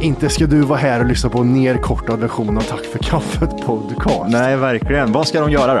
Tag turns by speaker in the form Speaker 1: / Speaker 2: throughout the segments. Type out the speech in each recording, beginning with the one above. Speaker 1: Inte ska du vara här och lyssna på en nerkortad version av Tack för kaffet podcast.
Speaker 2: Nej, verkligen. Vad ska de göra då?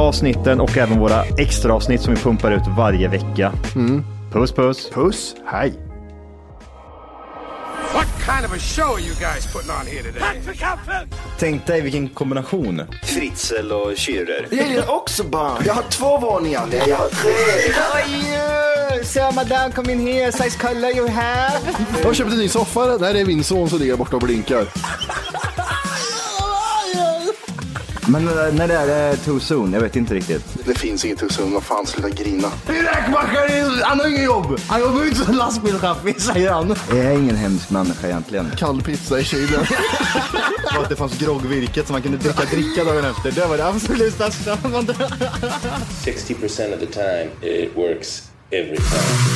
Speaker 2: avsnitten och även våra extra avsnitt som vi pumpar ut varje vecka. Puss puss!
Speaker 1: Puss, hej.
Speaker 3: What kind of a show are you guys putting on here today?
Speaker 2: Tänk dig vilken kombination.
Speaker 4: Fritzl och Schürrer.
Speaker 1: Jag gillar också barn. Jag har två våningar. Nej, jag har tre.
Speaker 2: Sir, madame, come in here, size color you have.
Speaker 1: Jag har köpt en ny soffa. Nej, det är min son som ligger borta och blinkar.
Speaker 2: Men eh, när det är det too soon? Jag vet inte riktigt.
Speaker 1: Det finns inget hos honom. Vad fan, sluta grina. Räkmackaren, han har inget jobb. Han jobbar inte som lastbilschaffis, säger han.
Speaker 2: Jag är ingen hemsk människa egentligen.
Speaker 1: Kall pizza i kylen.
Speaker 2: Och att det fanns groggvirket som man kunde dricka dricka dagen efter. Det var det absolut största.
Speaker 4: 60% of the time, it works every time.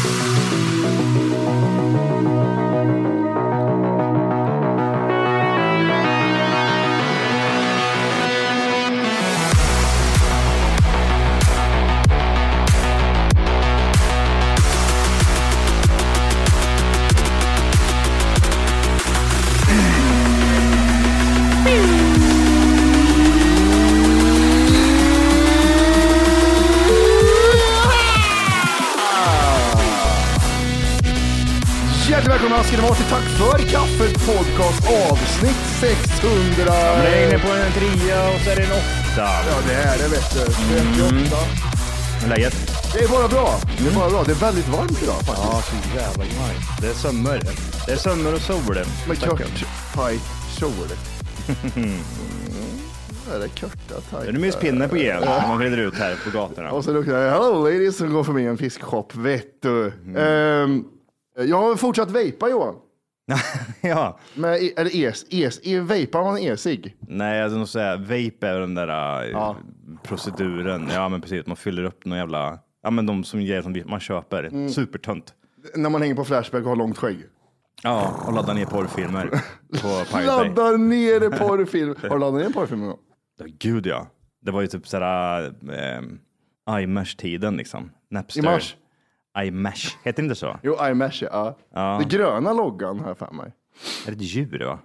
Speaker 1: Hjärtligt välkomna ska ni vara till Tack för kaffet podcast avsnitt 600.
Speaker 2: inne på en trea och så är det en åtta.
Speaker 1: Ja, det är det vet du. 58.
Speaker 2: Mm. Läget?
Speaker 1: Det är bara bra. Det är bara bra. Det är väldigt varmt idag faktiskt.
Speaker 2: Ja, så jävla nice. Det är sömmer. Det är sömmer och sol.
Speaker 1: Med kört, tajt kjol. Där är körta, tajta.
Speaker 2: Det är nu myspinne på er när man glider ut här på gatorna.
Speaker 1: Och så luktar det hello ladies som går förbi en fiskshop. Vet du.
Speaker 2: Mm.
Speaker 1: Ehm, jag har fortsatt vejpa Johan.
Speaker 2: ja.
Speaker 1: Med, e- eller es, es, e, vejpar man e-cigg?
Speaker 2: Nej, alltså, jag skulle nog säga vape är den där eh,
Speaker 1: Ja.
Speaker 2: proceduren. Ja, men precis. Man fyller upp någon jävla... Ja, men de som ger som man köper.
Speaker 1: Mm.
Speaker 2: Supertunt.
Speaker 1: När man hänger på Flashback och har långt skägg.
Speaker 2: Ja, och laddar ner porrfilmer på Pirate Bay.
Speaker 1: Laddar ner en porrfilm. Har du laddat ner en porrfilm någon gång?
Speaker 2: Ja, Gud ja. Det var ju typ sådär eh, iMash-tiden liksom. Napster.
Speaker 1: I mars?
Speaker 2: iMash. Heter det inte så?
Speaker 1: Jo, iMash ja.
Speaker 2: Ja.
Speaker 1: Den gröna loggan har jag för mig.
Speaker 2: Är det ett djur? Va?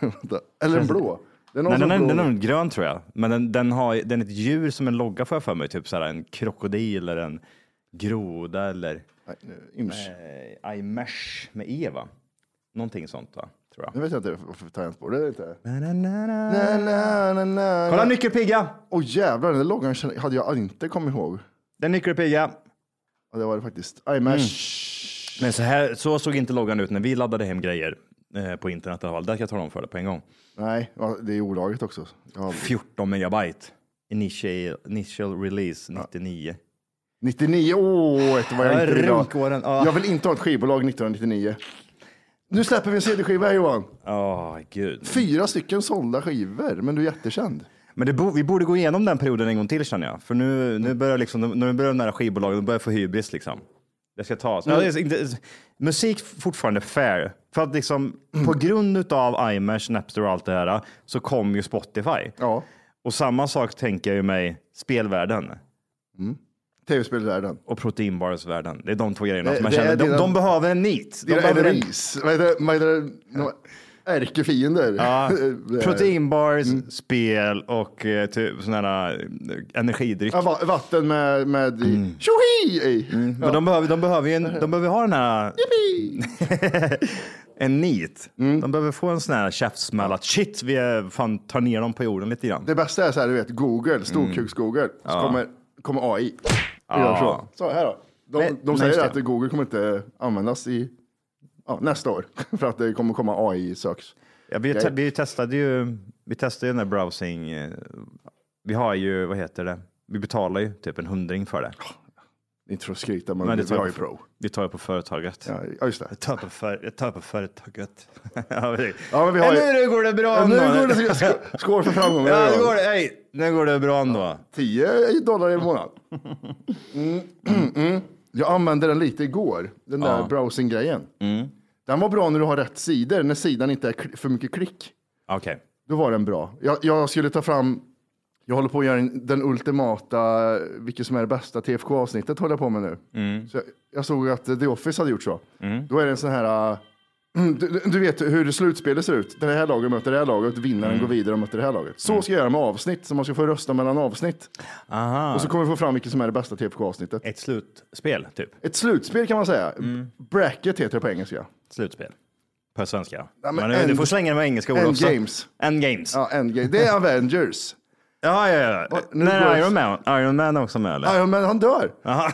Speaker 1: Vänta. Eller den blå. Det är någon
Speaker 2: Nej,
Speaker 1: som
Speaker 2: den, är,
Speaker 1: blå.
Speaker 2: den är nog grön tror jag. Men den, den, har, den är ett djur som en logga får jag för mig. Typ sådär en krokodil eller en groda eller
Speaker 1: Nej, nu, imsch.
Speaker 2: eh, iMash med E va? Någonting sånt va? Tror jag.
Speaker 1: Nu vet jag inte varför tangentbordet är det inte.
Speaker 2: Na, na, na, na.
Speaker 1: Na, na, na, na,
Speaker 2: Kolla
Speaker 1: na.
Speaker 2: nyckelpiga!
Speaker 1: Åh jävlar, den där loggan känner- hade jag inte kommit ihåg.
Speaker 2: Den nyckelpiga.
Speaker 1: Ja, det var det faktiskt. iMash.
Speaker 2: Men så, här, så såg inte loggan ut när vi laddade hem grejer eh, på internet i alla fall. Där kan jag tala om för dig på en gång.
Speaker 1: Nej, ja, det är olagligt också. Ja,
Speaker 2: 14 megabyte. Initial, initial release 99.
Speaker 1: 99, åh, vet du vad jag
Speaker 2: Ja,
Speaker 1: inte vill ha.
Speaker 2: runkåren, ja.
Speaker 1: Jag vill inte ha ett skivbolag 1999. Nu släpper vi en CD-skiva här Johan.
Speaker 2: Åh gud.
Speaker 1: Fyra stycken sålda skivor, men du är jättekänd.
Speaker 2: Men det bo, vi borde gå igenom den perioden en gång till känner jag. För nu,
Speaker 1: Mm.
Speaker 2: nu börjar liksom, nu- nu börjar de här skivbolagen, de börjar få hybris liksom. Det ska tas.
Speaker 1: Mm.
Speaker 2: Ja, det är inte, musik fortfarande fair. För att liksom,
Speaker 1: Mm.
Speaker 2: på grund utav iMash, Napster och allt det här så kom ju Spotify.
Speaker 1: Ja.
Speaker 2: Och samma sak tänker jag ju mig spelvärlden
Speaker 1: Tv-spelsvärlden.
Speaker 2: och proteinbarsvärlden. Det är de två grejerna
Speaker 1: Det-
Speaker 2: som jag
Speaker 1: det är
Speaker 2: känner. De,
Speaker 1: dina-
Speaker 2: de behöver en nit. De
Speaker 1: Dina
Speaker 2: behöver en-
Speaker 1: enemies. Vad heter det? Vad heter det? Nå- Ärkefiender.
Speaker 2: Ja,
Speaker 1: Det är- Mm.
Speaker 2: proteinbars, spel och eh, typ sådana här eh, energidryck.
Speaker 1: Ja, va- vatten med, med i.
Speaker 2: Mm.
Speaker 1: tjohi i.
Speaker 2: Men de behöver, de behöver ju en, de behöver ha den här... en nit.
Speaker 1: Mm.
Speaker 2: De behöver få en sån här käftsmäll att shit, vi är, fan, tar ner dem på jorden lite grann.
Speaker 1: Det bästa är så här, du vet, Google, storkuks-Google, så kommer, kommer AI.
Speaker 2: Mm. Ja.
Speaker 1: Gör så. så här då. De,
Speaker 2: Men-
Speaker 1: de
Speaker 2: nej,
Speaker 1: säger
Speaker 2: just
Speaker 1: att
Speaker 2: det.
Speaker 1: Google kommer inte användas i ja, nästa år för att det kommer komma AI söks.
Speaker 2: Ja, vi,
Speaker 1: Okej.
Speaker 2: vi testade ju vi testade ju den där browsing. eh, Vi har ju, vad heter det? Vi betalar ju typ en hundring för det.
Speaker 1: Inte för att skryta, men,
Speaker 2: Men det
Speaker 1: vi
Speaker 2: tar
Speaker 1: har ju
Speaker 2: jag på-
Speaker 1: pro.
Speaker 2: Vi tar ju på företaget.
Speaker 1: Ja, ja, just det.
Speaker 2: Jag tar på, för, jag tar på företaget. ja, vi,
Speaker 1: Ja, men vi har ju-
Speaker 2: nu går det bra
Speaker 1: Ja, nu
Speaker 2: ändå.
Speaker 1: går det, sk- skål för framgången.
Speaker 2: Ja, nu går det, hej, nu går det bra ändå.
Speaker 1: 10 dollar i månaden. Mm, mm. Jag använde den lite igår, den där browsing-grejen.
Speaker 2: Mm.
Speaker 1: Den var bra när du har rätt sidor, när sidan inte är kli- för mycket klick.
Speaker 2: Okej.
Speaker 1: Då var den bra. Jag, jag skulle ta fram, jag håller på att göra en- den ultimata, vilket som är det bästa TFK-avsnittet håller jag på med nu. Så jag, jag såg att The Office hade gjort så. Då är det en sån här, äh, du, du- du vet hur slutspelet ser ut. Det här laget möter det här laget, vinnaren går vidare och möter det här laget. Så ska jag göra med avsnitt, så man ska få rösta mellan avsnitt.
Speaker 2: Aha. Eh.
Speaker 1: Och så kommer vi få fram vilket som är det bästa TFK-avsnittet.
Speaker 2: Ett slutspel, typ.
Speaker 1: Ett slutspel kan man säga. Bracket heter det på engelska.
Speaker 2: Slutspel. På svenska.
Speaker 1: Ja, men
Speaker 2: men
Speaker 1: end-
Speaker 2: du får slänga det med engelska ord också.
Speaker 1: Endgames.
Speaker 2: Endgames. Ja,
Speaker 1: Ja, Endgame. Det är Avengers.
Speaker 2: ja, ja. ja.
Speaker 1: nu
Speaker 2: Nej,
Speaker 1: går-
Speaker 2: Iron Man, Iron Man är också med eller?
Speaker 1: Iron Man, han dör.
Speaker 2: Jaha.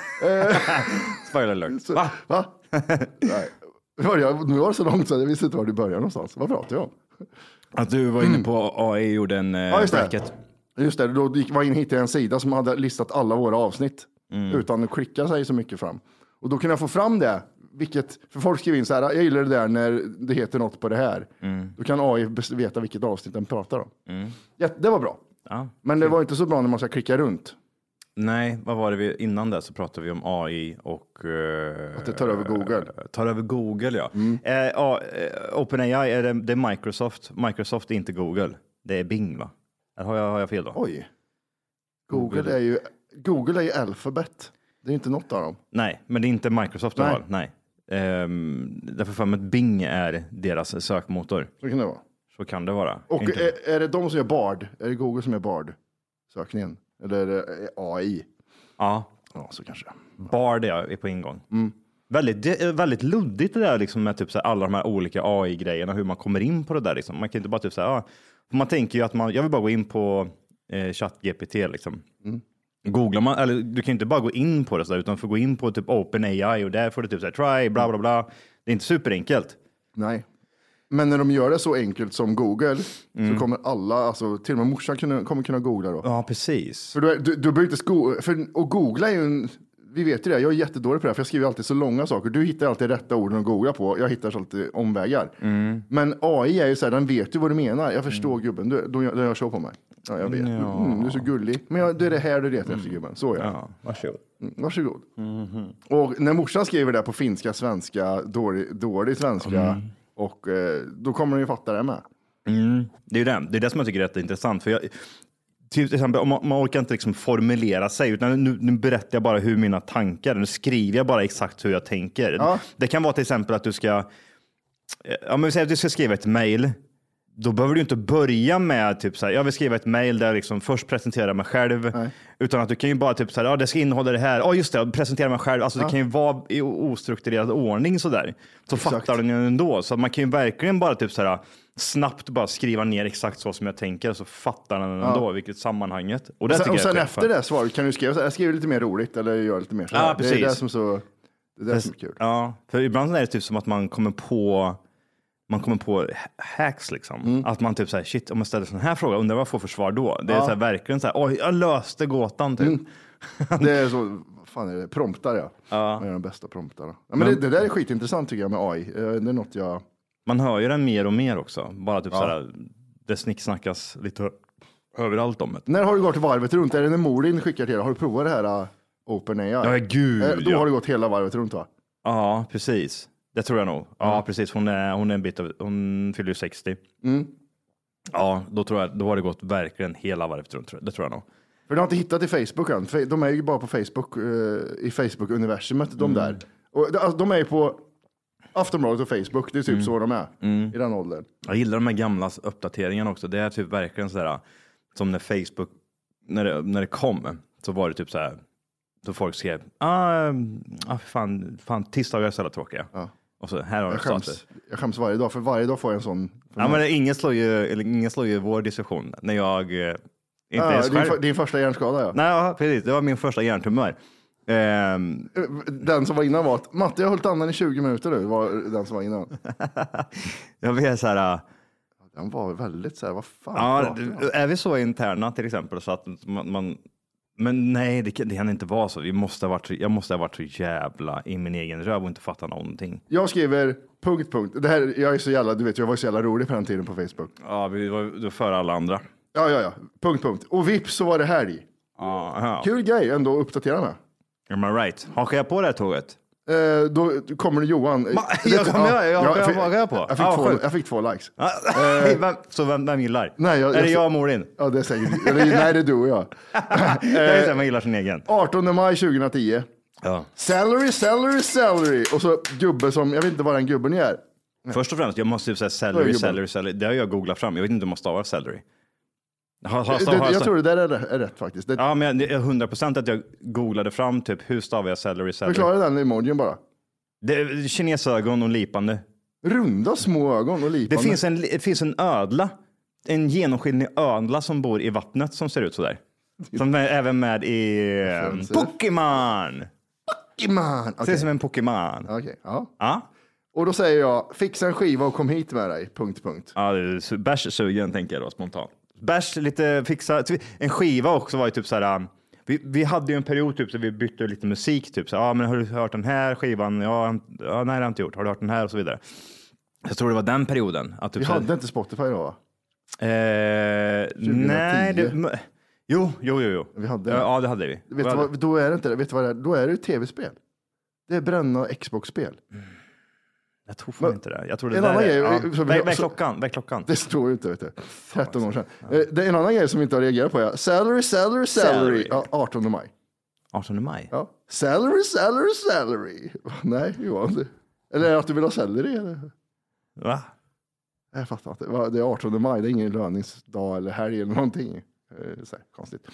Speaker 2: Spoiler alert. Va?
Speaker 1: Va? Nej. Hör jag, nu var det så långt så jag visste inte var du började någonstans. Vad pratar jag om?
Speaker 2: Att du var inne på AI gjorde en eh,
Speaker 1: Mm. Ja, just det.
Speaker 2: bracket.
Speaker 1: Just det, då gick, var jag in och hittade en sida som hade listat alla våra avsnitt utan att klicka sig så mycket fram. Och då kunde jag få fram det, vilket, för folk skriver in så här, jag gillar det där när det heter något på det här. Då kan AI bes- veta vilket avsnitt den pratar om. Mm. Ja, det var bra.
Speaker 2: Ja.
Speaker 1: Men det var inte så bra när man ska klicka runt.
Speaker 2: Nej, vad var det vi, innan det så pratade vi om AI och... eh,
Speaker 1: Att det tar över Google. Mm.
Speaker 2: Tar över Google, ja. Eh, ja, eh, OpenAI, är det, det är Microsoft. Microsoft är inte Google. Det är Bing, va? Eller har jag, har jag fel då?
Speaker 1: Oj. Google är ju, Google är ju Alphabet. Det är inte något av dem.
Speaker 2: Nej, men det är inte Microsoft
Speaker 1: Nej.
Speaker 2: de har. Nej. Um, därför för mig att Bing är deras sökmotor.
Speaker 1: Så kan det vara.
Speaker 2: Så kan det vara.
Speaker 1: Och eh,
Speaker 2: Inte-
Speaker 1: är, är det de som gör Bard? Är det Google som gör Bard-sökningen? Eller är det AI?
Speaker 2: ja,
Speaker 1: Ja, så kanske.
Speaker 2: Bard är jag är på ingång.
Speaker 1: Mm.
Speaker 2: Väldigt, det är väldigt luddigt det där liksom med typ så här alla de här olika AI-grejerna, hur man kommer in på det där. Liksom. Man kan inte bara typ så här, ja, för man tänker ju att man, jag vill bara gå in på eh, ChatGPT liksom.
Speaker 1: Mm.
Speaker 2: Googlar man, eller du kan ju inte bara gå in på det så där, utan du får gå in på typ OpenAI och där får du typ så här try, bla bla bla. Det är inte superenkelt.
Speaker 1: Nej. Men när de gör det så enkelt som Google så kommer alla, alltså, till och med morsan kunna, kommer kunna googla då.
Speaker 2: Ja, precis.
Speaker 1: För du, är- du, du behöver inte sko- för, och googla är ju en, vi vet ju det, jag är jättedålig på det här för jag skriver alltid så långa saker. Du hittar alltid rätta orden att googla på, jag hittar alltid omvägar. Men AI är ju så här, den vet ju vad du menar. Jag förstår gubben, du, de, gör- de gör så på mig. Mm. Ja, Mm. jag vet. Mm, du är så gullig. Men jag, det är det här du letar efter gubben, så är jag.
Speaker 2: Ja, varsågod.
Speaker 1: Mm, Varsågod.
Speaker 2: Mhm.
Speaker 1: Och när morsan skriver det på finska, svenska, dålig, dålig svenska, och, eh, då kommer hon ju fatta det med.
Speaker 2: Mm. Det är ju det. Det är det som jag tycker är rätt intressant. För jag, till exempel, om man, man orkar inte liksom formulera sig, utan nu, nu berättar jag bara hur mina tankar, nu skriver jag bara exakt hur jag tänker.
Speaker 1: Ja.
Speaker 2: Det kan vara till exempel att du ska, eh, ja, men vi säger att du ska skriva ett mejl. Då behöver du inte börja med typ så här, jag vill skriva ett mejl där jag liksom först presenterar mig själv. Utan att du kan ju bara typ så här, ja det ska innehålla det här, ja just det, presentera mig själv. Alltså det kan ju vara i o- ostrukturerad ordning så där. Så fattar den ju ändå. Så man kan ju verkligen bara typ så här, snabbt bara skriva ner exakt så som jag tänker så fattar den ändå, vilket sammanhanget. Och, det
Speaker 1: Och sen,
Speaker 2: tycker
Speaker 1: och
Speaker 2: jag är
Speaker 1: sen
Speaker 2: skitfett.
Speaker 1: efter det svaret kan du skriva, så här, jag skriver lite mer roligt eller gör lite mer så
Speaker 2: Ja,
Speaker 1: här. Det är det
Speaker 2: precis.
Speaker 1: som, så, det är det som är kul.
Speaker 2: Ja, för ibland är det typ som att man kommer på man kommer på ha- hacks liksom.
Speaker 1: Mm.
Speaker 2: Att man typ såhär, shit om jag ställer sån här fråga, undrar vad jag får för svar då? Det är så här, verkligen såhär, oj, jag löste gåtan typ.
Speaker 1: Mm. Det är så, vad fan är det, promptar ja. Man gör de bästa promptarna. Ja, men det, det där är skitintressant tycker jag med AI. Eh, Det är något jag,
Speaker 2: Man hör ju den mer och mer också. Bara typ såhär, det snicksnackas lite överallt om det.
Speaker 1: När har du gått varvet runt? Är det när Molin skickar till dig? Har du provat det här uh, OpenAI?
Speaker 2: Ja, gud,
Speaker 1: Eh, Då
Speaker 2: ja.
Speaker 1: har du gått hela varvet runt va?
Speaker 2: Ja, precis. Det tror jag nog. Ja, precis. Hon är, hon är en bit av, hon fyller ju 60.
Speaker 1: Mm.
Speaker 2: Ja, då tror jag, då har det gått verkligen hela varvet runt. tror jag. Det tror jag nog.
Speaker 1: För du har inte hittat i Facebook än. Fe- De är ju bara på Facebook, eh, i Facebook-universumet,
Speaker 2: Mm.
Speaker 1: de där. Och, de- alltså, de är ju på Aftonbladet och Facebook, det är typ
Speaker 2: Mm.
Speaker 1: så de är i den åldern.
Speaker 2: Jag gillar de här gamla uppdateringarna också. Det är typ verkligen sådär som när Facebook, när det, när det kom, så var det typ så här. Då folk skrev, ah, ah fan, fan tisdagar är så jävla tråkiga. Och så här har du
Speaker 1: Jag skäms,
Speaker 2: status.
Speaker 1: jag skäms varje dag, för varje dag får jag en sån.
Speaker 2: Ja, men det- ingen slår ju, eller ingen slår ju vår diskussion när jag eh, inte
Speaker 1: Ja,
Speaker 2: ens
Speaker 1: din,
Speaker 2: själv.
Speaker 1: för, din första hjärnskada ja.
Speaker 2: Nej, ja, precis. Det var min första hjärntumör. Ehm,
Speaker 1: Den som var innan var att Matte, jag har hållit andan i 20 minuter nu, var den som var innan.
Speaker 2: jag blir så här, äh,
Speaker 1: Den var väldigt så här, vad fan
Speaker 2: ja,
Speaker 1: pratar jag om?
Speaker 2: d- är vi så interna till exempel så att man, man men nej, det kan, det kan inte vara så. Vi måste ha varit, så- jag måste ha varit så jävla i min egen röv och inte fatta någonting.
Speaker 1: Jag skriver punkt, punkt. Det här, jag är så jävla, du vet, jag var så jävla rolig på den tiden på Facebook.
Speaker 2: Ja, vi var det var före alla andra.
Speaker 1: Ja, ja, ja, punkt, punkt. Och vips så var det helg.
Speaker 2: Ja,
Speaker 1: Kul grej ändå att uppdatera med.
Speaker 2: Am I right? Hakar jag på det här tåget?
Speaker 1: Eh, då kommer det Johan.
Speaker 2: jag kommer- jag- jag- jag
Speaker 1: fick-
Speaker 2: vågar jag på.
Speaker 1: Jag fick,
Speaker 2: Ah, vad
Speaker 1: två,
Speaker 2: sjukt.
Speaker 1: jag fick två likes.
Speaker 2: Ah, hej, vem, så vem, vem gillar?
Speaker 1: Nej, jag-
Speaker 2: är det
Speaker 1: jag-
Speaker 2: jag och Morin?
Speaker 1: Ja, det är säkert. Eller, nej, det är du och jag.
Speaker 2: Det är så här, man gillar sin egen.
Speaker 1: 18 maj 2010.
Speaker 2: Ja.
Speaker 1: Salary, salary, salary. Och så gubbe som, jag vet inte vad den gubben är.
Speaker 2: Först och främst, jag måste ju säga
Speaker 1: Oj,
Speaker 2: celery,
Speaker 1: gubben.
Speaker 2: celery, celery. Det har jag googlat fram. Jag vet inte om man stavar celery. Har, har,
Speaker 1: Det,
Speaker 2: stav, har,
Speaker 1: Eh, jag tror det där är, rätt- är rätt faktiskt. Det,
Speaker 2: Ja, men jag är 100 procent att jag googlade fram typ hur stavar jag celery, celery.
Speaker 1: Förklara den emojin bara.
Speaker 2: Det är kinesögon och lipande.
Speaker 1: Runda små ögon och
Speaker 2: Det
Speaker 1: lipande.
Speaker 2: finns, en, det finns en ödla, en genomskinlig ödla som bor i vattnet som ser ut sådär. Som är även med i eh, Pokémon.
Speaker 1: Man. Okej,
Speaker 2: Ser ut som en Pokémon.
Speaker 1: okej, ja.
Speaker 2: Ja,
Speaker 1: Och då säger jag, fixa en skiva och kom hit med dig. Punkt, punkt.
Speaker 2: ja det är su- bärssugen tänker jag då spontant. Bärs, lite fixa. En skiva också var ju typ såhär. um, Vi, vi hade ju en period typ så vi bytte lite musik. Typ så ja men har du hört den här skivan? Ja, han- ja, nej det har jag inte gjort. Har du hört den här? Och så vidare. Jag tror det var den perioden. Att typ
Speaker 1: Vi
Speaker 2: så här-
Speaker 1: hade inte Spotify då va?
Speaker 2: Eh, nej, det, m- jo, jo, jo, jo.
Speaker 1: Vi hade det.
Speaker 2: ja, det hade vi.
Speaker 1: Vet du vad, då är det inte det. Vet du vad det är? Då är det ju tv-spel. Det är bränna Xbox-spel.
Speaker 2: Jag tror fan inte det. Jag tror det
Speaker 1: en
Speaker 2: där
Speaker 1: annan
Speaker 2: är,
Speaker 1: grej,
Speaker 2: ja.
Speaker 1: så vi-
Speaker 2: Väck- väck
Speaker 1: så-
Speaker 2: klockan, väck klockan.
Speaker 1: Det står ju inte, vet du. 13 år sedan. Eh, Det är en annan grej som vi inte har reagerat på. Ja. Salary, salary, salary.
Speaker 2: Salary.
Speaker 1: Ja, 18 maj.
Speaker 2: 18 maj.
Speaker 1: Ja. Salary, salary, salary. Nej, Johan. du- Eller är det att du vill ha selleri? eller?
Speaker 2: Va?
Speaker 1: Jag fattar inte. Va, Det är 18 maj, det är ingen löningsdag eller helg eller någonting. Eh, Så här, konstigt.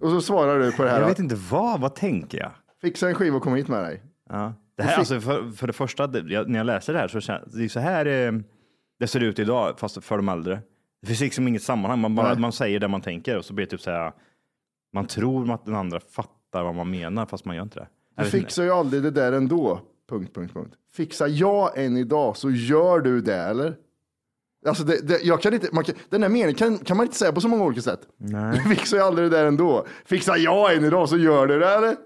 Speaker 1: Och så svarar du på det här.
Speaker 2: Jag
Speaker 1: ja.
Speaker 2: vet inte vad, vad tänker jag?
Speaker 1: Fixa en skiva och kom hit med dig.
Speaker 2: Ja. Det här, alltså, för, för det första, det, jag, när jag läser det här så känns det är så här eh, det ser ut idag, fast för de äldre. Det finns liksom inget sammanhang, man, bara,
Speaker 1: Nej.
Speaker 2: man säger det man tänker och så blir det typ så här, man tror att den andra fattar vad man menar, fast man gör inte det. Jag
Speaker 1: Du
Speaker 2: vet inte.
Speaker 1: fixar ju aldrig det där ändå. Punkt, punkt, punkt. Fixar jag en idag så gör du det, eller? Alltså, det, det, jag kan inte, man kan, den här meningen kan, kan man inte säga på så många olika sätt.
Speaker 2: Nej.
Speaker 1: Du fixar ju aldrig det där ändå. Fixar jag en idag så gör du det, eller?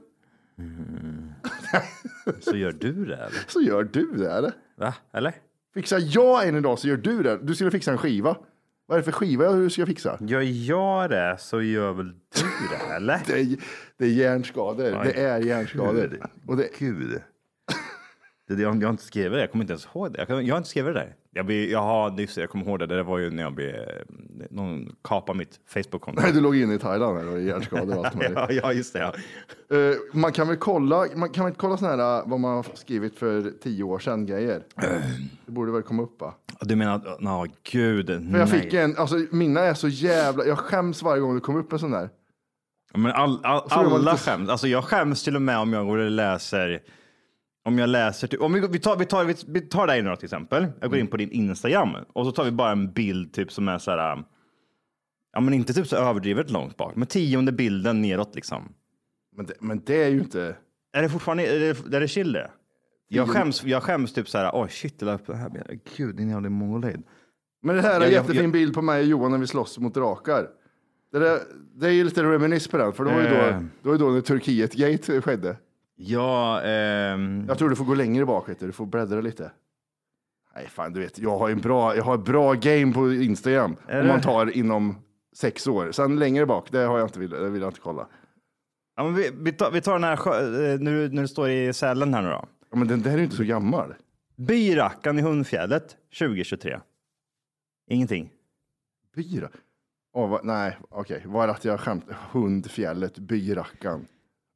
Speaker 2: Så gör du det, eller?
Speaker 1: Så gör du det, eller?
Speaker 2: Va? Eller?
Speaker 1: Fixar jag en idag så gör du det. Du skulle fixa en skiva. Vad är det för skiva du ska fixa?
Speaker 2: Gör jag det så gör väl du det, eller?
Speaker 1: Det är, det är hjärnskador. det är hjärnskador. Och det,
Speaker 2: Gud. Det, det, jag, jag har inte skrivit det, jag kommer inte ens ihåg det. Jag, kan- jag har inte skrivit det där. Jag, blir, jag, har, just, det, jag kommer ihåg det, det var ju när jag blev, eh, någon kapade mitt Facebook-konto.
Speaker 1: du låg inne i Thailand eller hjärnskador och allt möjligt.
Speaker 2: ja, ja, just det. Ja.
Speaker 1: Eh, man kan väl kolla, man kan väl inte kolla sådana här eh, vad man har skrivit för tio år sedan grejer? Det borde väl komma upp va?
Speaker 2: Du menar, ja gud,
Speaker 1: Men jag
Speaker 2: nej.
Speaker 1: fick en, alltså mina är så jävla, jag skäms varje gång det kommer upp en sån där.
Speaker 2: Ja, Men all, all,
Speaker 1: Så det var
Speaker 2: alla
Speaker 1: lite-
Speaker 2: skäms. Alltså jag skäms till och med om jag går och läser om jag läser, typ- om vi, vi, tar, vi, tar, vi, vi tar dig nu då till exempel. Jag går in på din Instagram och så tar vi bara en bild typ som är så här. ähm, Ja, men inte typ så överdrivet långt bak, men tionde bilden neråt liksom.
Speaker 1: Men det, men det är ju inte,
Speaker 2: Är det fortfarande, är det, är det chill det? Jag skäms, jag skäms typ så här. Oj, shit, jag la upp det här. bilden. Gud, din jävla mongoloid.
Speaker 1: men det här är en
Speaker 2: Jag- jag-
Speaker 1: jättefin
Speaker 2: jag-
Speaker 1: bild på mig och Johan när vi slåss mot drakar. Det, där, det är ju lite reminis på den, för det var ju då,
Speaker 2: Eh.
Speaker 1: det var ju då när Turkiet-gate skedde.
Speaker 2: Ja, ehm,
Speaker 1: Jag tror du får gå längre bak, vet du. du får bläddra lite. Nej, fan du vet, jag har en bra, jag har ett bra game på Instagram. Om man tar inom sex år. Sen längre bak, det har jag inte vill, det vill jag inte kolla.
Speaker 2: Ja, men vi, vi, tar, vi tar den här sjö- eh, nu, nu står i Sälen här nu då.
Speaker 1: Ja, men den där är ju inte så gammal.
Speaker 2: Byrackan i Hundfjället 2023. Ingenting.
Speaker 1: Byra. Åh, vad, nej, okej. Var att jag skämt? Hundfjället, Byrackan.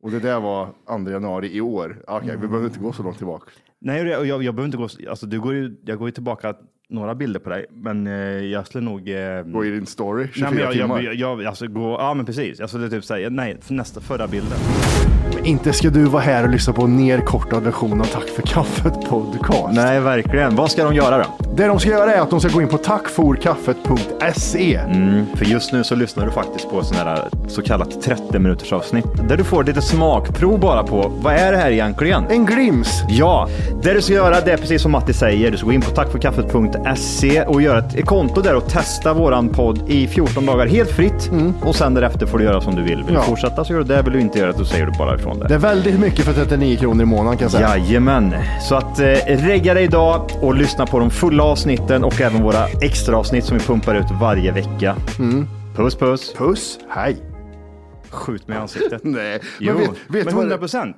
Speaker 1: Och det där var 2 januari i år. Okej, vi behöver inte gå så långt tillbaka.
Speaker 2: Nej, och jag, jag, jag behöver inte gå, så- alltså du går ju, jag går ju tillbaka några bilder på dig, men eh, jag skulle nog... Eh,
Speaker 1: Gå i din story, 24
Speaker 2: nej, men jag,
Speaker 1: timmar.
Speaker 2: jag, jag, jag, alltså gå, ja men precis. Jag skulle typ säga, nej, för nästa, förra bilden.
Speaker 1: Men inte ska du vara här och lyssna på en nerkortad version av Tack för kaffet podcast.
Speaker 2: Nej, verkligen. Vad ska de göra då?
Speaker 1: Det de ska göra är att de ska gå in på tackforkaffet.se.
Speaker 2: För just nu så lyssnar du faktiskt på sådana här eh, så kallat 30 minuters avsnitt där du får lite smakprov bara på vad är det här egentligen?
Speaker 1: En glims.
Speaker 2: Ja, det du ska göra det är precis som Matti säger. Du ska gå in på tackforkaffet.se E och göra ett konto där och testa våran podd i 14 dagar helt fritt. Och sen därefter får du göra som du vill. Vill
Speaker 1: Ja.
Speaker 2: du fortsätta så gör du det. Vill du inte göra det så säger du bara ifrån det.
Speaker 1: Det är väldigt mycket för 39 kronor i månaden kan jag säga.
Speaker 2: Jajamän, så att eh, regga dig idag och lyssna på de fulla avsnitten och även våra extra avsnitt som vi pumpar ut varje vecka. Puss puss!
Speaker 1: Puss, hej.
Speaker 2: Skjut mig i ansiktet.
Speaker 1: Nej,
Speaker 2: Jo,
Speaker 1: men vet, vet du
Speaker 2: men
Speaker 1: vad
Speaker 2: 100
Speaker 1: det-
Speaker 2: procent.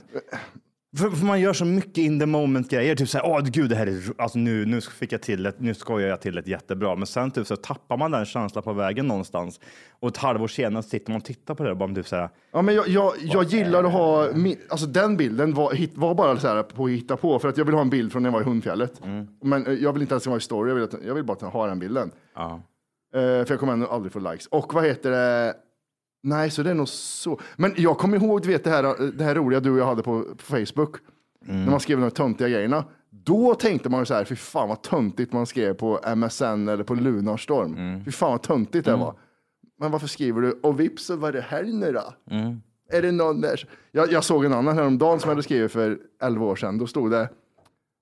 Speaker 2: För, för man gör så mycket in the moment grejer. Typ såhär, åh gud, det här är, ro- alltså, nu, nu fick jag till ett, nu skojar jag till ett jättebra. Men sen typ så tappar man den känslan på vägen någonstans. Och ett halvår senare sitter man och tittar på det och bara typ såhär,
Speaker 1: Ja, men jag, jag, jag gillar att ha, min, alltså den bilden var, hit, var bara så här på att hitta på för att jag vill ha en bild från när jag var i Hundfjället. Men eh, jag vill inte ens vara i story, jag vill, att, jag vill bara att jag har den bilden. Eh, för jag kommer ändå aldrig få likes. Och vad heter det? Nej, så det är nog så. Men jag kommer ihåg, du vet det här, eh, det här roliga du och jag hade på, på Facebook. När man skrev de här töntiga grejerna. Då tänkte man ju så här, fy fan vad töntigt man skrev på MSN eller på Lunarstorm. Fy fan vad töntigt det var. Men varför skriver du, och vips så var det här nu då? Är det någon där? Jag, jag såg en annan häromdagen som jag hade skrivit för 11 år sedan. Då stod det,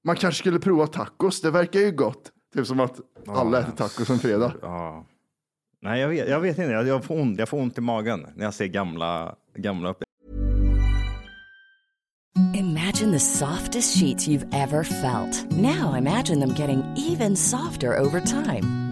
Speaker 1: man kanske skulle prova tacos, det verkar ju gott. Typ som att alla äter tacos en fredag.
Speaker 2: nej jag vet, jag vet inte, jag, jag, får ont, jag får ont i magen när jag ser gamla, gamla upp.
Speaker 5: Imagine the softest sheets you've ever felt. Now imagine them getting even softer over time.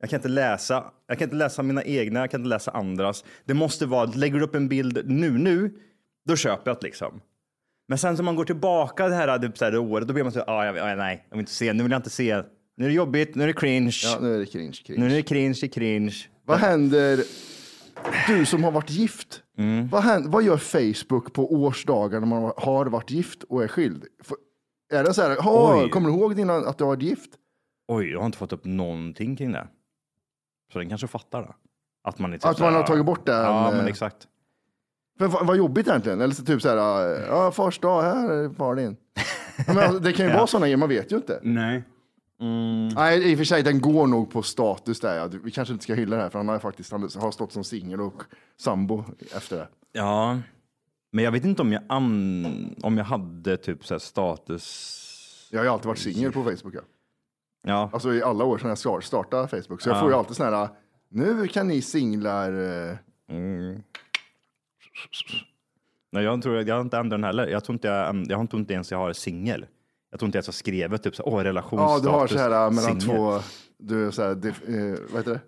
Speaker 2: Jag kan inte läsa. Jag kan inte läsa mina egna, jag kan inte läsa andras. Det måste vara, lägger du upp en bild nu, nu, då köper jag det liksom. Men sen som man går tillbaka det här, typ, så här det året, då blir man så här, ah, jag, ah, nej, jag vill inte se, nu vill jag inte se. Nu är det jobbigt, nu är det cringe.
Speaker 1: Ja, nu är det cringe,
Speaker 2: nu
Speaker 1: cringe.
Speaker 2: är det cringe i cringe.
Speaker 1: Vad händer, du som har varit gift, vad, händer, vad gör Facebook på årsdagar när man har varit gift och är skild? Får- Är det så här, "Åh,
Speaker 2: Oj.
Speaker 1: kommer du ihåg dina, att du har varit gift?
Speaker 2: Oj, jag har inte fått upp någonting kring det. Så den kanske fattar det. Att man, är typ
Speaker 1: Att
Speaker 2: så här,
Speaker 1: man har
Speaker 2: ah,
Speaker 1: tagit bort den,
Speaker 2: Ja, men
Speaker 1: eh,
Speaker 2: exakt.
Speaker 1: Men vad, vad jobbigt egentligen. Eller så typ så här, ja, fars dag, här är partyn. Ja, men alltså, det kan ju vara sådana grejer, man vet ju inte.
Speaker 2: Nej.
Speaker 1: Nej, i och för sig, den går nog på status där. Ja. Du- Vi kanske inte ska hylla det här, för han har faktiskt han har stått som singel och sambo efter det.
Speaker 2: Ja, men jag vet inte om jag, an... om jag hade typ så här status.
Speaker 1: Jag har ju alltid varit singel på Facebook. Ja.
Speaker 2: Ja,
Speaker 1: Alltså i alla år sedan jag ska- startade Facebook. Så jag får ju alltid sådana här, nu kan ni singlar... eh,
Speaker 2: nej, jag tror jag har inte ändrat den heller. Jag tror inte, jag, änd- jag tror inte ens jag har singel. Jag tror inte ens jag skrev typ så här, åh,
Speaker 1: Ja,
Speaker 2: relationsstatus.
Speaker 1: du har så här eh, äh, mellan
Speaker 2: singel."
Speaker 1: två, du är så här, diff, eh, vad heter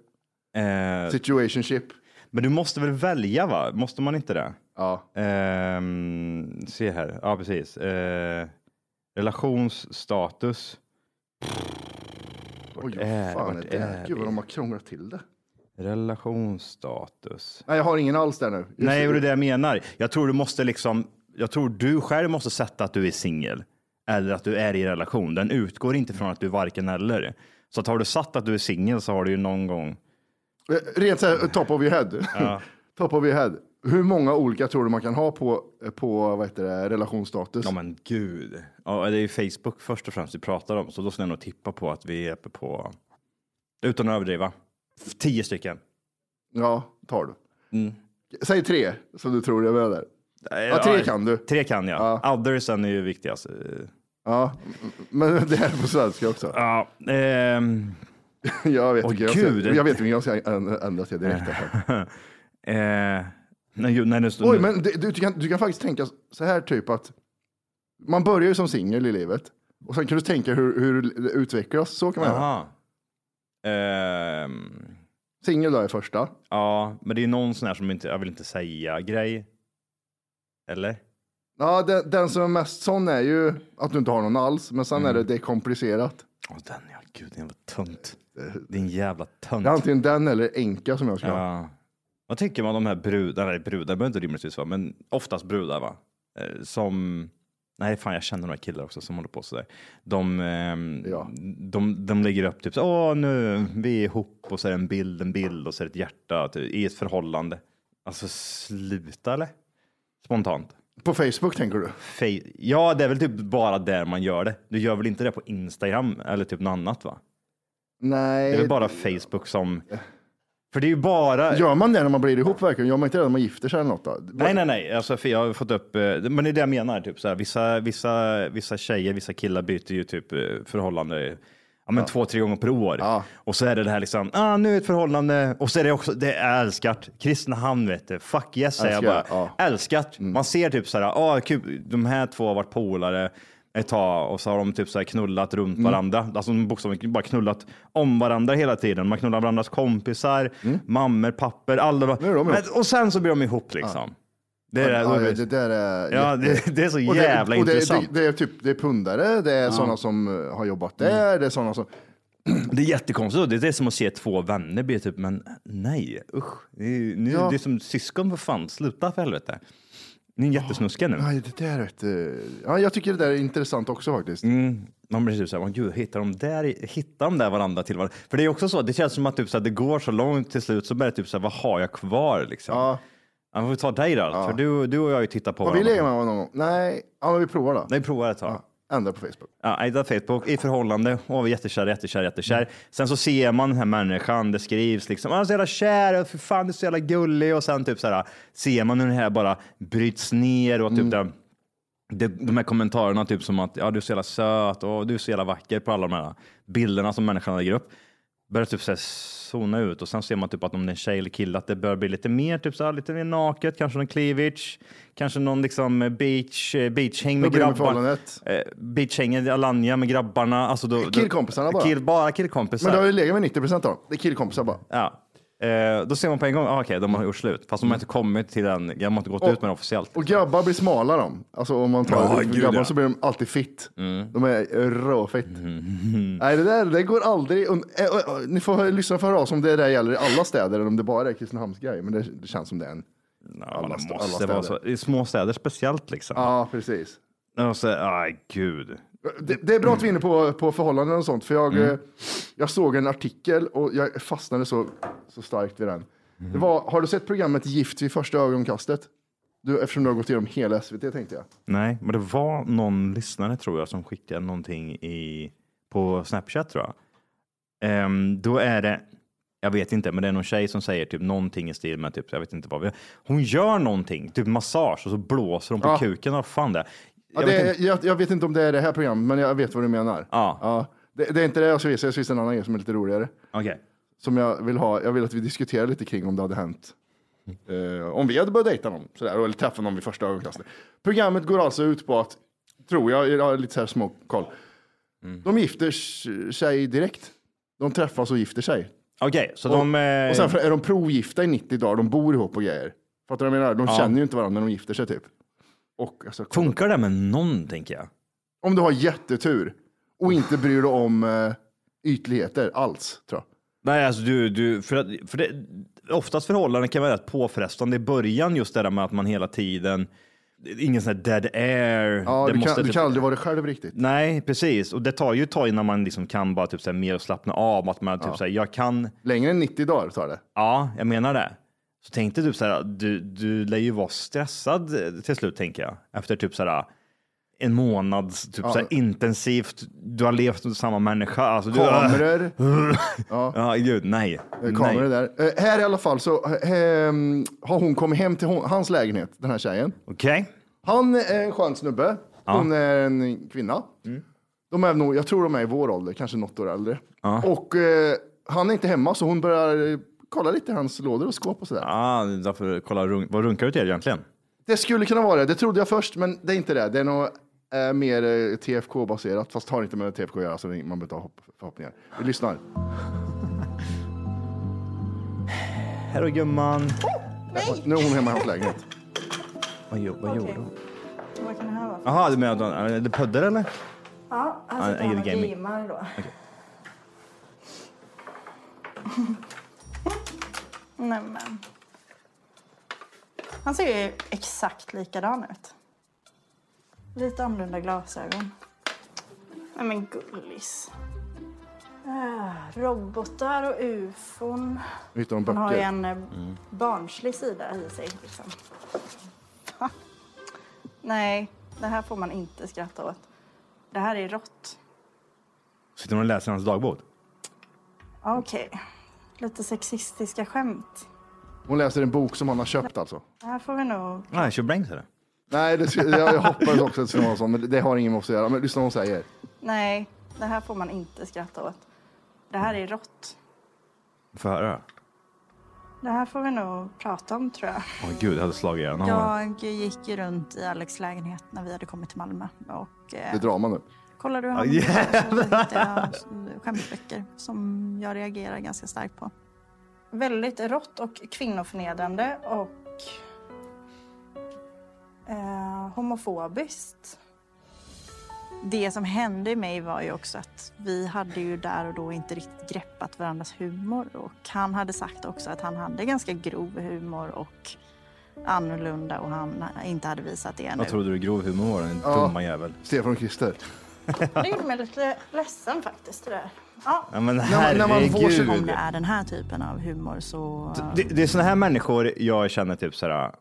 Speaker 1: det?
Speaker 2: Eh,
Speaker 1: Typ- Situationship.
Speaker 2: men du måste väl välja, va? Måste man inte det?
Speaker 1: Ja.
Speaker 2: Ehm, se här, ja precis. Eh, relationsstatus.
Speaker 1: Oj, vad
Speaker 2: är-
Speaker 1: fan
Speaker 2: vart
Speaker 1: är det?
Speaker 2: är
Speaker 1: Gud vad
Speaker 2: vi?
Speaker 1: de har krånglat till det.
Speaker 2: Relationsstatus.
Speaker 1: Nej, jag har ingen alls där nu. Just
Speaker 2: Nej, och det är det jag menar. Jag tror du måste liksom, jag tror du själv måste sätta att du är singel eller att du är i relation. Den utgår inte från att du är varken eller. Så att har du satt att du är singel så har du ju någon gång.
Speaker 1: Eh, Rent så här, top of your head.
Speaker 2: Ja.
Speaker 1: top of your head. Hur många olika tror du man kan ha på, på vad heter det, relationsstatus?
Speaker 2: Ja men gud. Ja, det är ju Facebook först och främst vi pratar om, så då skulle jag nog tippa på att vi är uppe på, utan att överdriva, tio stycken.
Speaker 1: Ja, tar du.
Speaker 2: Mm.
Speaker 1: Säg tre som du tror jag behöver. Ja,
Speaker 2: Ja,
Speaker 1: tre kan du.
Speaker 2: Tre kan jag. Othersen är ju viktigast.
Speaker 1: Ja, men det här är på svenska också.
Speaker 2: Ja, ehm,
Speaker 1: Jag vet
Speaker 2: Åh,
Speaker 1: inte. Jag,
Speaker 2: gud.
Speaker 1: ska- jag vet inte. Jag ska änd- ändra till direkt. här.
Speaker 2: eh, nej, ju- nej, nu,
Speaker 1: Oj, men det- du, du, kan, du kan faktiskt tänka så här typ att man börjar ju som singel i livet och sen kan du tänka hur, hur det utvecklas. Så kan man göra.
Speaker 2: Jaha. Ehm,
Speaker 1: Singel då är första.
Speaker 2: ja, men det är ju någon sån här som inte, jag vill inte säga grej. Eller?
Speaker 1: Ja, den, den som är mest sån är ju att du inte har någon alls, men
Speaker 2: Mm.
Speaker 1: sen är det, det är komplicerat.
Speaker 2: Åh den ja, gud den var tunt. Din jävla
Speaker 1: Det är
Speaker 2: tunt.
Speaker 1: antingen den eller enka som jag ska ha.
Speaker 2: Ja. Vad tycker man om de här brudarna, eller brudar behöver inte rimligtvis vara, men oftast brudar va? Eh, Som, nej fan jag känner några killar också som håller på sådär. De, ehm, de, de lägger upp typ så, åh nu, vi är ihop och så är det en bild, en bild och så är det ett hjärta typ, i ett förhållande. Alltså sluta eller? Spontant.
Speaker 1: På Facebook tänker du?
Speaker 2: Fe- ja, det är väl typ bara där man gör det. Du gör väl inte det på Instagram eller typ något annat va?
Speaker 1: Nej.
Speaker 2: Eh, Det eh. är väl bara Facebook som... För det är ju bara...
Speaker 1: Gör man det när man blir ihop verkligen? Gör man inte det när man gifter sig eller något? Då?
Speaker 2: Nej, nej, nej. Alltså, för jag har fått upp, eh, men det är det jag menar. Typ, så här, vissa, vissa, vissa tjejer, vissa killar byter ju typ eh, förhållande ja, men två, tre gånger per år. Och så är det det här liksom, ah, nu är ett förhållande. Och så är det också, det är älskat. Kristinehamn vet du, fuck yes säger jag bara.
Speaker 1: Älskar,
Speaker 2: Älskat. Man ser typ så här, ah, kul, de här två har varit polare ett tag och så har de typ så här knullat runt varandra. Alltså de bokstavligen bara knullat om varandra hela tiden. Man knullar varandras kompisar, mammor, papper, alla. bara-
Speaker 1: de
Speaker 2: men,
Speaker 1: ihop.
Speaker 2: och sen så blir de ihop liksom. Det är,
Speaker 1: Ja, ja, det där är...
Speaker 2: Ja, det- det är så
Speaker 1: Och det-
Speaker 2: jävla
Speaker 1: och det,
Speaker 2: intressant. Mm.
Speaker 1: Det, det är typ, det är pundare, det är sådana som eh, har jobbat där, det är sådana som...
Speaker 2: det är jättekonstigt. och Det är det som att se två vänner bli typ, men nej, usch. Det är, ju- nu,
Speaker 1: Ja.
Speaker 2: det är som syskon, för fan, sluta för helvete. Ni är jättesnuskiga nu.
Speaker 1: Nej, det där är ett... eh, Ja, jag tycker det där är intressant också faktiskt.
Speaker 2: Mm. Man blir typ såhär, "Åh, gud, hittar de där, i- hittar de där varandra till varandra? För det är också så, det känns som att typ, såhär, det går så långt till slut så börjar det typ såhär, vad har jag kvar liksom?
Speaker 1: Ja.
Speaker 2: Ja, men vi tar dig då, för du, du och jag har ju tittat på
Speaker 1: Har vi legat med varandra någon gång? Nej, ja, men vi provar då.
Speaker 2: Nej, prova ett tag. Ja.
Speaker 1: Ändra på Facebook.
Speaker 2: Ja, Aida Facebook i förhållande. Åh, vi är jättekär, jättekär, jättekär. Sen så ser man den här människan, det skrivs liksom, han är så jävla kär, och för fan du är så jävla gullig. Och sen typ så här, ser man hur den här bara bryts ner och typ den, de, de här kommentarerna typ som att ja, du är så jävla söt och du är så jävla vacker på alla de här bilderna som människan lägger upp. Börjar typ så här zona ut och sen ser man typ att om det är en tjej eller kille att det börjar bli lite mer typ så här, lite mer naket, kanske någon cleavage, kanske någon liksom eh, beach, eh, beachhäng
Speaker 1: Då
Speaker 2: med
Speaker 1: blir det med
Speaker 2: grabbar.
Speaker 1: förhållandet.
Speaker 2: Eh, beachhängen, Alanya med grabbarna. Alltså då, då,
Speaker 1: Killkompisarna bara.
Speaker 2: Kill, bara killkompisar.
Speaker 1: Men då har vi legat med 90 procent av dem. Det är killkompisar bara.
Speaker 2: ja. Eh, då ser man på en gång, ah, okej, de har gjort slut. Fast de har inte kommit till den, de har inte gått
Speaker 1: Och-
Speaker 2: ut med det officiellt.
Speaker 1: Och grabbar blir smala de. Alltså om man tar
Speaker 2: Ja, gud,
Speaker 1: grabbar
Speaker 2: ja. Mm.
Speaker 1: så blir de alltid fitt. De är råfitt. Nej, det där det går aldrig. und- eh, eh, eh, Ni får lyssna för oss om det där gäller i alla städer eller om det bara är Kristinehamns grej. Men det, det känns som det är en.
Speaker 2: Ja,
Speaker 1: alla
Speaker 2: det
Speaker 1: st- alla
Speaker 2: måste vara så.
Speaker 1: städer.
Speaker 2: I små städer speciellt liksom.
Speaker 1: Ja, precis.
Speaker 2: Och så, aj, gud.
Speaker 1: Det, det är bra att vi är inne på, på förhållanden och sånt. För jag,
Speaker 2: Mm.
Speaker 1: eh, jag såg en artikel och jag fastnade så, så starkt vid den.
Speaker 2: Mm.
Speaker 1: Det var, har du sett programmet Gift vid första ögonkastet? Du, eftersom du har gått igenom hela SVT tänkte jag.
Speaker 2: Nej, men det var någon lyssnare tror jag som skickade någonting i, på Snapchat tror jag. Ehm, då är det, jag vet inte, men det är någon tjej som säger typ någonting i stil med typ, jag vet inte vad. vi- Hon gör någonting, typ massage och så blåser hon på
Speaker 1: Ja.
Speaker 2: kuken. Vad fan det är.
Speaker 1: Ja,
Speaker 2: Jag
Speaker 1: det
Speaker 2: vet
Speaker 1: är,
Speaker 2: inte.
Speaker 1: jag, jag vet inte om det är det här programmet, men jag vet vad du menar.
Speaker 2: Ja.
Speaker 1: det, det är inte det jag ska visa, jag ska visa en annan grej som är lite roligare.
Speaker 2: Okej.
Speaker 1: Som jag vill ha, jag vill att vi diskuterar lite kring om det hade hänt. Eh, om vi hade börjat dejta någon, sådär, eller träffa någon vid första ögonkastet. Programmet går alltså ut på att, tror jag, jag har lite så här små koll.
Speaker 2: Mm.
Speaker 1: De gifter sig direkt. De träffas och gifter sig.
Speaker 2: Okej, så de... eh,
Speaker 1: Och sen är de provgifta i 90 dagar, de bor ihop och grejer. Fattar du vad jag menar? De
Speaker 2: Ja.
Speaker 1: känner ju inte varandra när de gifter sig typ. Och, alltså, kolla-
Speaker 2: Funkar det med någon, tänker jag?
Speaker 1: Om du har jättetur och inte bryr dig om eh, ytligheter alls, tror jag.
Speaker 2: Nej, alltså du, du, för att, för det, oftast förhållanden kan vara rätt påfrestande i början, just det där med att man hela tiden, ingen sån här dead air.
Speaker 1: Ja,
Speaker 2: Det
Speaker 1: du,
Speaker 2: måste- typ-
Speaker 1: kan, du kan aldrig vara dig själv riktigt.
Speaker 2: Nej, precis. Och det tar ju ett tag innan man liksom kan bara typ så här, mer och slappna av. Att man typ
Speaker 1: Ja.
Speaker 2: så här, jag kan...
Speaker 1: Längre än 90 dagar tar det.
Speaker 2: Ja, jag menar det. Så tänkte typ så här, du, du lär ju vara stressad till slut, tänker jag. Efter typ så här, en månads typ
Speaker 1: Ja.
Speaker 2: så här, intensivt, du har levt med samma människa. Alltså, du,
Speaker 1: Kameror.
Speaker 2: ja. gud, nej.
Speaker 1: Eh, Kameror
Speaker 2: nej.
Speaker 1: där. Eh, här i alla fall så eh, ehm, har hon kommit hem till hon, hans lägenhet, den här tjejen.
Speaker 2: Okej.
Speaker 1: Han är en skön snubbe.
Speaker 2: Ja. Mm.
Speaker 1: Hon är en kvinna. De är nog, jag tror de är i vår ålder, kanske något år äldre. Och eh, han är inte hemma så hon börjar eh, kolla lite i hans lådor och skåp och sådär.
Speaker 2: Ja, Ah, därför, kolla, runk- vad runkar du till egentligen?
Speaker 1: Det skulle kunna vara det, det trodde jag först, men det är inte det. Det är nog eh, mer eh, TFK-baserat, fast har inte med TFK att göra så man behöver inte ha hopp, förhoppningar. Vi lyssnar.
Speaker 2: Här har gumman.
Speaker 1: Nu är hon hemma i hans lägenhet.
Speaker 2: Vad, gör- vad gjorde hon?
Speaker 6: Vad kan det här vara? för-
Speaker 2: Jaha, du menar att hon- är det puddar eller?
Speaker 6: Ja,
Speaker 2: Ja,
Speaker 6: han sitter
Speaker 2: är det
Speaker 6: här och
Speaker 2: gaming?
Speaker 6: gamar då. Nämen. Han ser ju exakt likadan ut. Lite annorlunda glasögon. Nej men gullis. Ah, robotar och ufon.
Speaker 1: Nu hittar hon
Speaker 6: Han har ju
Speaker 1: böcker.
Speaker 6: en eh, barnslig sida i sig. Liksom. Nej, det här får man inte skratta åt. Det här är rått.
Speaker 2: Sitter hon och läser hans dagbok?
Speaker 6: Okej, lite sexistiska skämt.
Speaker 1: Hon läser en bok som han har köpt alltså.
Speaker 6: Det här får vi nog...
Speaker 2: Nej, tjobrängs är det.
Speaker 1: Nej, det, jag, jag hoppades också att det skulle vara så, men det har ingen med oss att göra. Men lyssna vad hon säger.
Speaker 6: Nej, det här får man inte skratta åt. Det här är rått.
Speaker 2: Får jag höra?
Speaker 6: Det här får vi nog prata om tror jag.
Speaker 2: Åh gud, jag hade slagit igen honom.
Speaker 6: Jag gick ju runt i Alex lägenhet när vi hade kommit till Malmö och
Speaker 1: Det
Speaker 6: eh,
Speaker 1: är drama nu.
Speaker 6: kollade hur
Speaker 1: Ja,
Speaker 6: han
Speaker 1: jävlar.
Speaker 6: så hittade jag skämtböcker som jag reagerar ganska starkt på. Väldigt rått och kvinnoförnedrande och eh, homofobiskt. Det som hände mig var ju också att vi hade ju där och då inte riktigt greppat varandras humor och han hade sagt också att han hade ganska grov humor och annorlunda och han inte hade visat det ännu.
Speaker 2: Jag trodde du grov humor var, den
Speaker 1: Ja.
Speaker 2: dumma jävel.
Speaker 1: Stefan och Christer.
Speaker 6: Det gjorde mig lite ledsen faktiskt det där. Ja.
Speaker 2: Ja, men herregud.
Speaker 1: när man får sig-
Speaker 6: Om det är den här typen av humor så...
Speaker 2: Det, det är sådana här människor jag känner typ så här.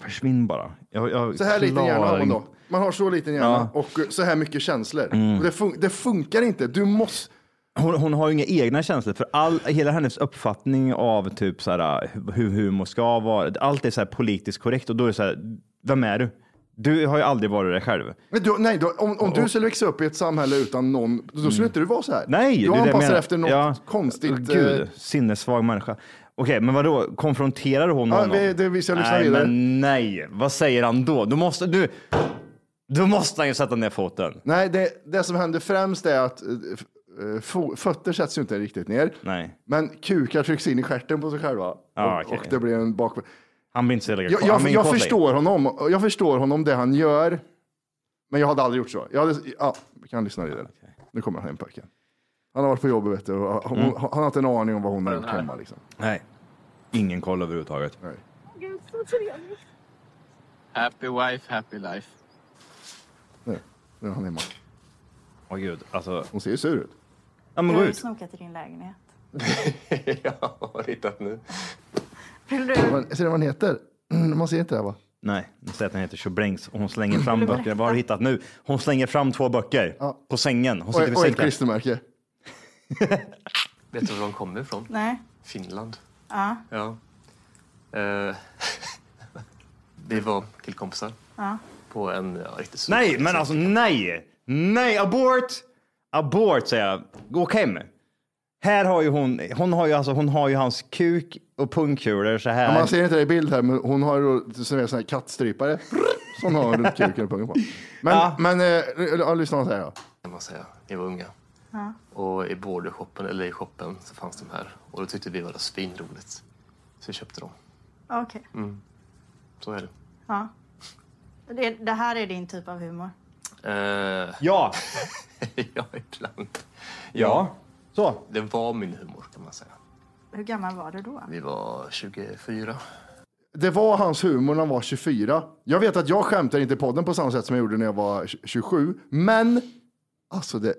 Speaker 2: försvinn bara. Jag, jag
Speaker 1: Så här liten hjärna har
Speaker 2: klarar
Speaker 1: man då.
Speaker 2: inte-
Speaker 1: Man har så liten hjärna och eh, så här mycket känslor.
Speaker 2: Mm.
Speaker 1: Och det, fun- det funkar inte. Du måste...
Speaker 2: Hon, hon har ju inga egna känslor för all, hela hennes uppfattning av typ så här, hur humor ska vara. Allt är så här politiskt korrekt och då är det så här, vem är du? Du har ju aldrig varit dig själv.
Speaker 1: Men du, nej, då, om, om du skulle växa upp i ett samhälle utan någon, då skulle inte du vara så här.
Speaker 2: Mm. Nej,
Speaker 1: du
Speaker 2: det är det jag
Speaker 1: anpassar
Speaker 2: menar.
Speaker 1: efter något
Speaker 2: Ja.
Speaker 1: konstigt. eh,
Speaker 2: Gud, sinnessvag människa. Okej, men vadå, konfronterar hon
Speaker 1: Ja,
Speaker 2: honom?
Speaker 1: det- det visar jag lyssnar
Speaker 2: nej,
Speaker 1: vidare.
Speaker 2: men nej, vad säger han då? Då måste, du, då måste han ju sätta ner foten.
Speaker 1: Nej, det, det som händer främst är att eh, f- eh, fo- fötter sätts ju inte riktigt ner.
Speaker 2: Nej.
Speaker 1: Men kukar trycks in i stjärten på sig själva.
Speaker 2: Ja,
Speaker 1: och,
Speaker 2: okej.
Speaker 1: och det blir en bak...
Speaker 2: Han blir inte så lika
Speaker 1: Jag,
Speaker 2: han
Speaker 1: jag,
Speaker 2: blir inte
Speaker 1: jag,
Speaker 2: kort längre.
Speaker 1: förstår honom, och jag förstår honom, det han gör. Men jag hade aldrig gjort så. Jag hade, ja, vi kan lyssna vidare. Nu kommer han hem pojken. Han har varit på jobbet vet du, och hon,
Speaker 2: Mm.
Speaker 1: han har inte en aning om vad hon har gjort hemma. Liksom.
Speaker 2: Nej, ingen koll överhuvudtaget.
Speaker 1: Nej.
Speaker 7: Gud, så trevligt.
Speaker 4: Happy wife, happy life.
Speaker 1: Nu, nu är han hemma.
Speaker 2: Åh gud, alltså.
Speaker 1: Hon ser ju sur ut.
Speaker 2: Ja,
Speaker 6: du har ju snokat i din lägenhet.
Speaker 1: ja, vad har hittat nu?
Speaker 6: Vill du,
Speaker 1: Ser du vad han heter? Man ser inte det va?
Speaker 2: Nej, nu säger jag att den heter Tjobrängs och hon slänger fram
Speaker 1: Vill du
Speaker 2: böcker. Vad har du hittat nu? Hon slänger fram två böcker på sängen. Hon
Speaker 1: Och,
Speaker 2: sitter vid
Speaker 1: och ett
Speaker 2: sängen.
Speaker 1: klistermärke.
Speaker 4: Vet du var de kommer ifrån?
Speaker 6: nej.
Speaker 4: Finland.
Speaker 6: Ja.
Speaker 4: Ja. Eh, vi var killkompisar
Speaker 6: ja.
Speaker 4: på en ja, riktigt stor-
Speaker 2: Nej, men alltså nej! Nej, abort! Abort säger jag. Gå hem! Här har ju hon, hon har ju, alltså, hon har ju hans kuk och pungkulor så
Speaker 1: Ja,
Speaker 2: här.
Speaker 1: man ser inte det i bild här, men hon har ju sån här- sån här kattstrypare som har runt kuken och pungen på. Men, men eh, ja, lyssna vad han säger. då.
Speaker 4: kan man säga. Vi var unga.
Speaker 6: Ja.
Speaker 4: Och i bordershoppen, eller i shoppen, så fanns de här. Och då tyckte vi var det svinroligt. Så vi köpte dem.
Speaker 6: Okej.
Speaker 4: Mm. Så är det.
Speaker 6: Ja. Det, det här är din typ av humor.
Speaker 4: Eh,
Speaker 2: ja!
Speaker 4: ja, ibland.
Speaker 2: Ja. Så.
Speaker 1: Alltså-
Speaker 4: Det var min humor kan man säga.
Speaker 6: Hur gammal var du då?
Speaker 4: Vi var 24.
Speaker 1: Det var hans humor när han var 24. Jag vet att jag skämtar inte i podden på samma sätt som jag gjorde när jag var 27, men alltså det...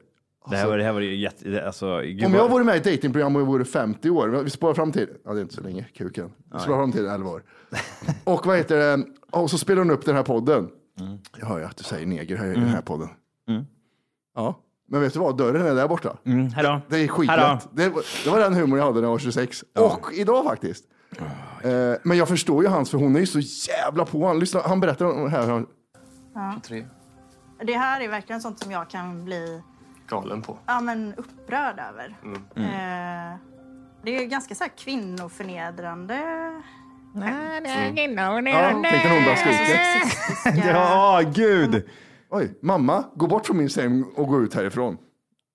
Speaker 2: Det här var, det här var ju jätte... det- Alltså, gud
Speaker 1: Om
Speaker 2: vad-
Speaker 1: jag vore med i ett datingprogram och jag vore 50 år, vi sparar fram till, ja det är inte så länge, kuken. Vi
Speaker 2: Nej.
Speaker 1: sparar fram till 11 år. Och vad heter det, och så spelar hon upp den här podden. Jag hör ju att du säger neger här i den här podden.
Speaker 2: Mm.
Speaker 1: Ja, men vet du vad, dörren är där borta.
Speaker 2: Hejdå.
Speaker 1: Det är skitlätt. Det, var- det var den humor jag hade när jag var 26. Och idag faktiskt.
Speaker 2: Ah,
Speaker 1: Eh, Men jag förstår ju hans, för hon är ju så jävla på han. Lyssna, han berättar om här. Han,
Speaker 6: Ja. Det här är verkligen sånt som jag kan bli
Speaker 4: Galen på.
Speaker 6: ja, men upprörd över.
Speaker 4: Mm.
Speaker 6: Eh, det är ju ganska så här kvinnoförnedrande skämt.
Speaker 1: Tänkte hon bara skrika.
Speaker 6: Sexistiska.
Speaker 1: Ja, gud. Oj, mamma, gå bort från min säng och gå ut härifrån.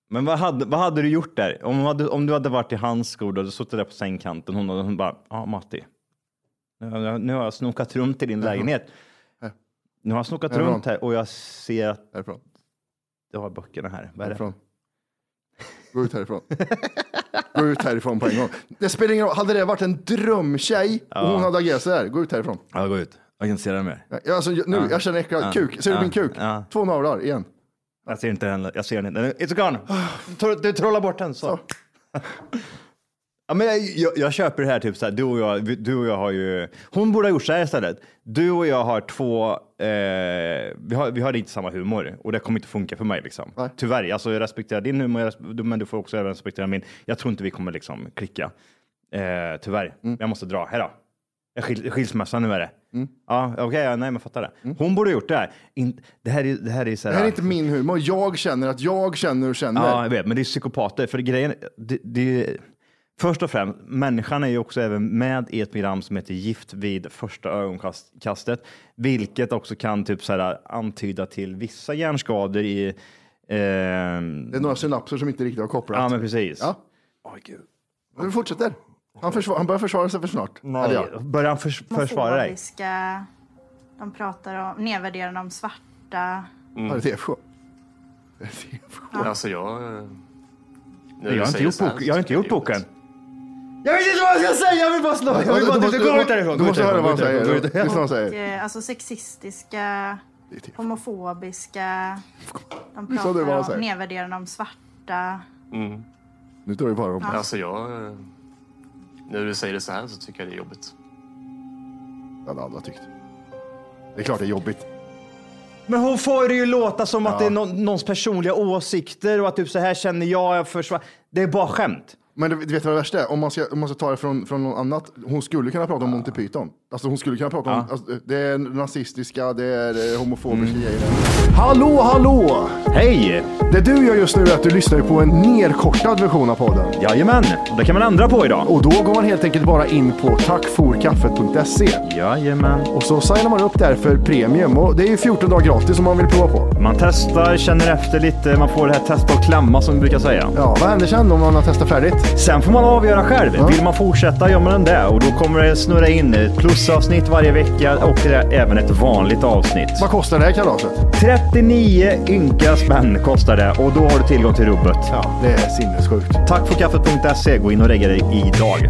Speaker 2: Men vad hade, vad hade du gjort där? Om, hade, om du hade varit i hans skor, då hade du suttit där på sängkanten. Hon, hon bara, ja Matti, nu har, jag, nu har jag snokat runt i din lägenhet. Nu har jag snokat
Speaker 1: Härifrån.
Speaker 2: runt här och jag ser att du har böckerna här. Vad är det?
Speaker 1: Härifrån. Gå ut härifrån. Gå ut härifrån på en gång. Det spelar ingen roll. Hade det varit en drömtjej och
Speaker 2: Ja.
Speaker 1: hon hade agerat så här, gå ut härifrån.
Speaker 2: Ja, gå ut. Jag kan inte se den mer.
Speaker 1: Ja, Alltså, jag- nu,
Speaker 2: Ja.
Speaker 1: jag känner äcklad.
Speaker 2: Ja.
Speaker 1: Kuk, ser du
Speaker 2: Ja.
Speaker 1: min kuk?
Speaker 2: Ja.
Speaker 1: Två navlar, igen.
Speaker 2: Jag ser inte den. Jag ser den inte. It's gone. Tro- Du trollar bort den. Så. Ja, men jag, jag, jag köper det här, typ så här, du och jag, vi- du och jag har ju... Hon borde ha gjort så här istället. Du och jag har två... Eh, vi, har, vi har inte samma humor och det kommer inte funka för mig. Liksom. Tyvärr, alltså, jag respekterar din humor, jag res- du- men du får också även respektera min. Jag tror inte vi kommer liksom klicka. Eh, tyvärr,
Speaker 1: Mm.
Speaker 2: men jag måste dra. Hej då. Jag skil, skilsmässa nu är det. Ja, okej, ja, nej, men jag fattar det. Hon borde ha gjort det här. In, det här är det här är så
Speaker 1: Mm. Det
Speaker 2: här...
Speaker 1: här är inte min humor. Jag känner att jag känner och känner.
Speaker 2: Ja, jag vet, men det är psykopater. För grejen, det, det, först och främst, människan är ju också även med i ett program som heter Gift vid första ögonkastet, vilket också kan typ så här, antyda till vissa hjärnskador i... eh, det
Speaker 1: är några synapser som inte riktigt har kopplat.
Speaker 2: Ja, men precis.
Speaker 1: Ja. Men vi fortsätter. Han, försvar, han börjar försvara sig för snart. Eller ja.
Speaker 2: Börjar han förs- försvara dig?
Speaker 6: Homofobiska. De pratar om, nedvärderar de svarta.
Speaker 4: Mm.
Speaker 1: Ja, det är TFK.
Speaker 4: Men alltså jag... eh, när
Speaker 2: Jag
Speaker 4: du
Speaker 2: har inte
Speaker 4: säger
Speaker 2: gjort
Speaker 4: så här
Speaker 2: bok-
Speaker 4: så
Speaker 2: jag har inte
Speaker 4: tycker
Speaker 2: gjort boken.
Speaker 1: Jag vet inte vad jag ska säga, jag vill bara slå.
Speaker 2: Jag vill bara
Speaker 1: Du
Speaker 2: att
Speaker 1: måste-
Speaker 2: du går ut därifrån.
Speaker 1: Du
Speaker 2: Gå
Speaker 1: måste
Speaker 2: ut
Speaker 1: höra vad han
Speaker 2: därifrån, gå
Speaker 1: säger.
Speaker 2: ut
Speaker 1: Lyssna
Speaker 2: därifrån.
Speaker 1: vad han
Speaker 6: Och,
Speaker 1: säger.
Speaker 6: eh, alltså sexistiska, homofobiska. De
Speaker 1: Nu sa du vad han
Speaker 6: pratar
Speaker 1: säger.
Speaker 6: om, nedvärderar de svarta.
Speaker 4: Mm.
Speaker 1: Nu tar vi bara om
Speaker 4: Men Alltså jag... eh, När du säger det så här så tycker jag det är jobbigt.
Speaker 1: Det hade alla tyckt. Det är klart det är jobbigt.
Speaker 2: Men hon får det ju låta som
Speaker 1: Ja.
Speaker 2: att det är någon, någons personliga åsikter och att typ så här känner jag, jag försvar... Det är bara skämt.
Speaker 1: Men du vet vad det värsta är? Om man ska, om man ska ta det från, från något annat. Hon skulle kunna prata om Monty Python. Alltså hon skulle kunna prata om, alltså, det är nazistiska, det är eh, homofobiska grejer. Hallå, hallå!
Speaker 2: Hej!
Speaker 1: Det du gör just nu är att du lyssnar på en nerkortad version av podden.
Speaker 2: Jajamän, och det kan man ändra på idag.
Speaker 1: Och då går man helt enkelt bara in på tackforkaffet.se.
Speaker 2: Jajamän.
Speaker 1: Och så signar man upp där för premium. Och det är ju 14 dagar gratis om man vill prova på.
Speaker 2: Man testar, känner efter lite, man får det här testa och klämma som vi brukar säga.
Speaker 1: Ja, vad händer sen om man har testat färdigt?
Speaker 2: Sen får man avgöra själv. Vill man fortsätta gör man det och då kommer det snurra in ett plusavsnitt varje vecka och det är även ett vanligt avsnitt.
Speaker 1: Vad kostar det här kalaset?
Speaker 2: 39 ynka spänn kostar det och då har du tillgång till rubbet.
Speaker 1: Ja, det är sinnessjukt.
Speaker 2: Tack för kaffet.se. E. Gå in och lägg dig idag.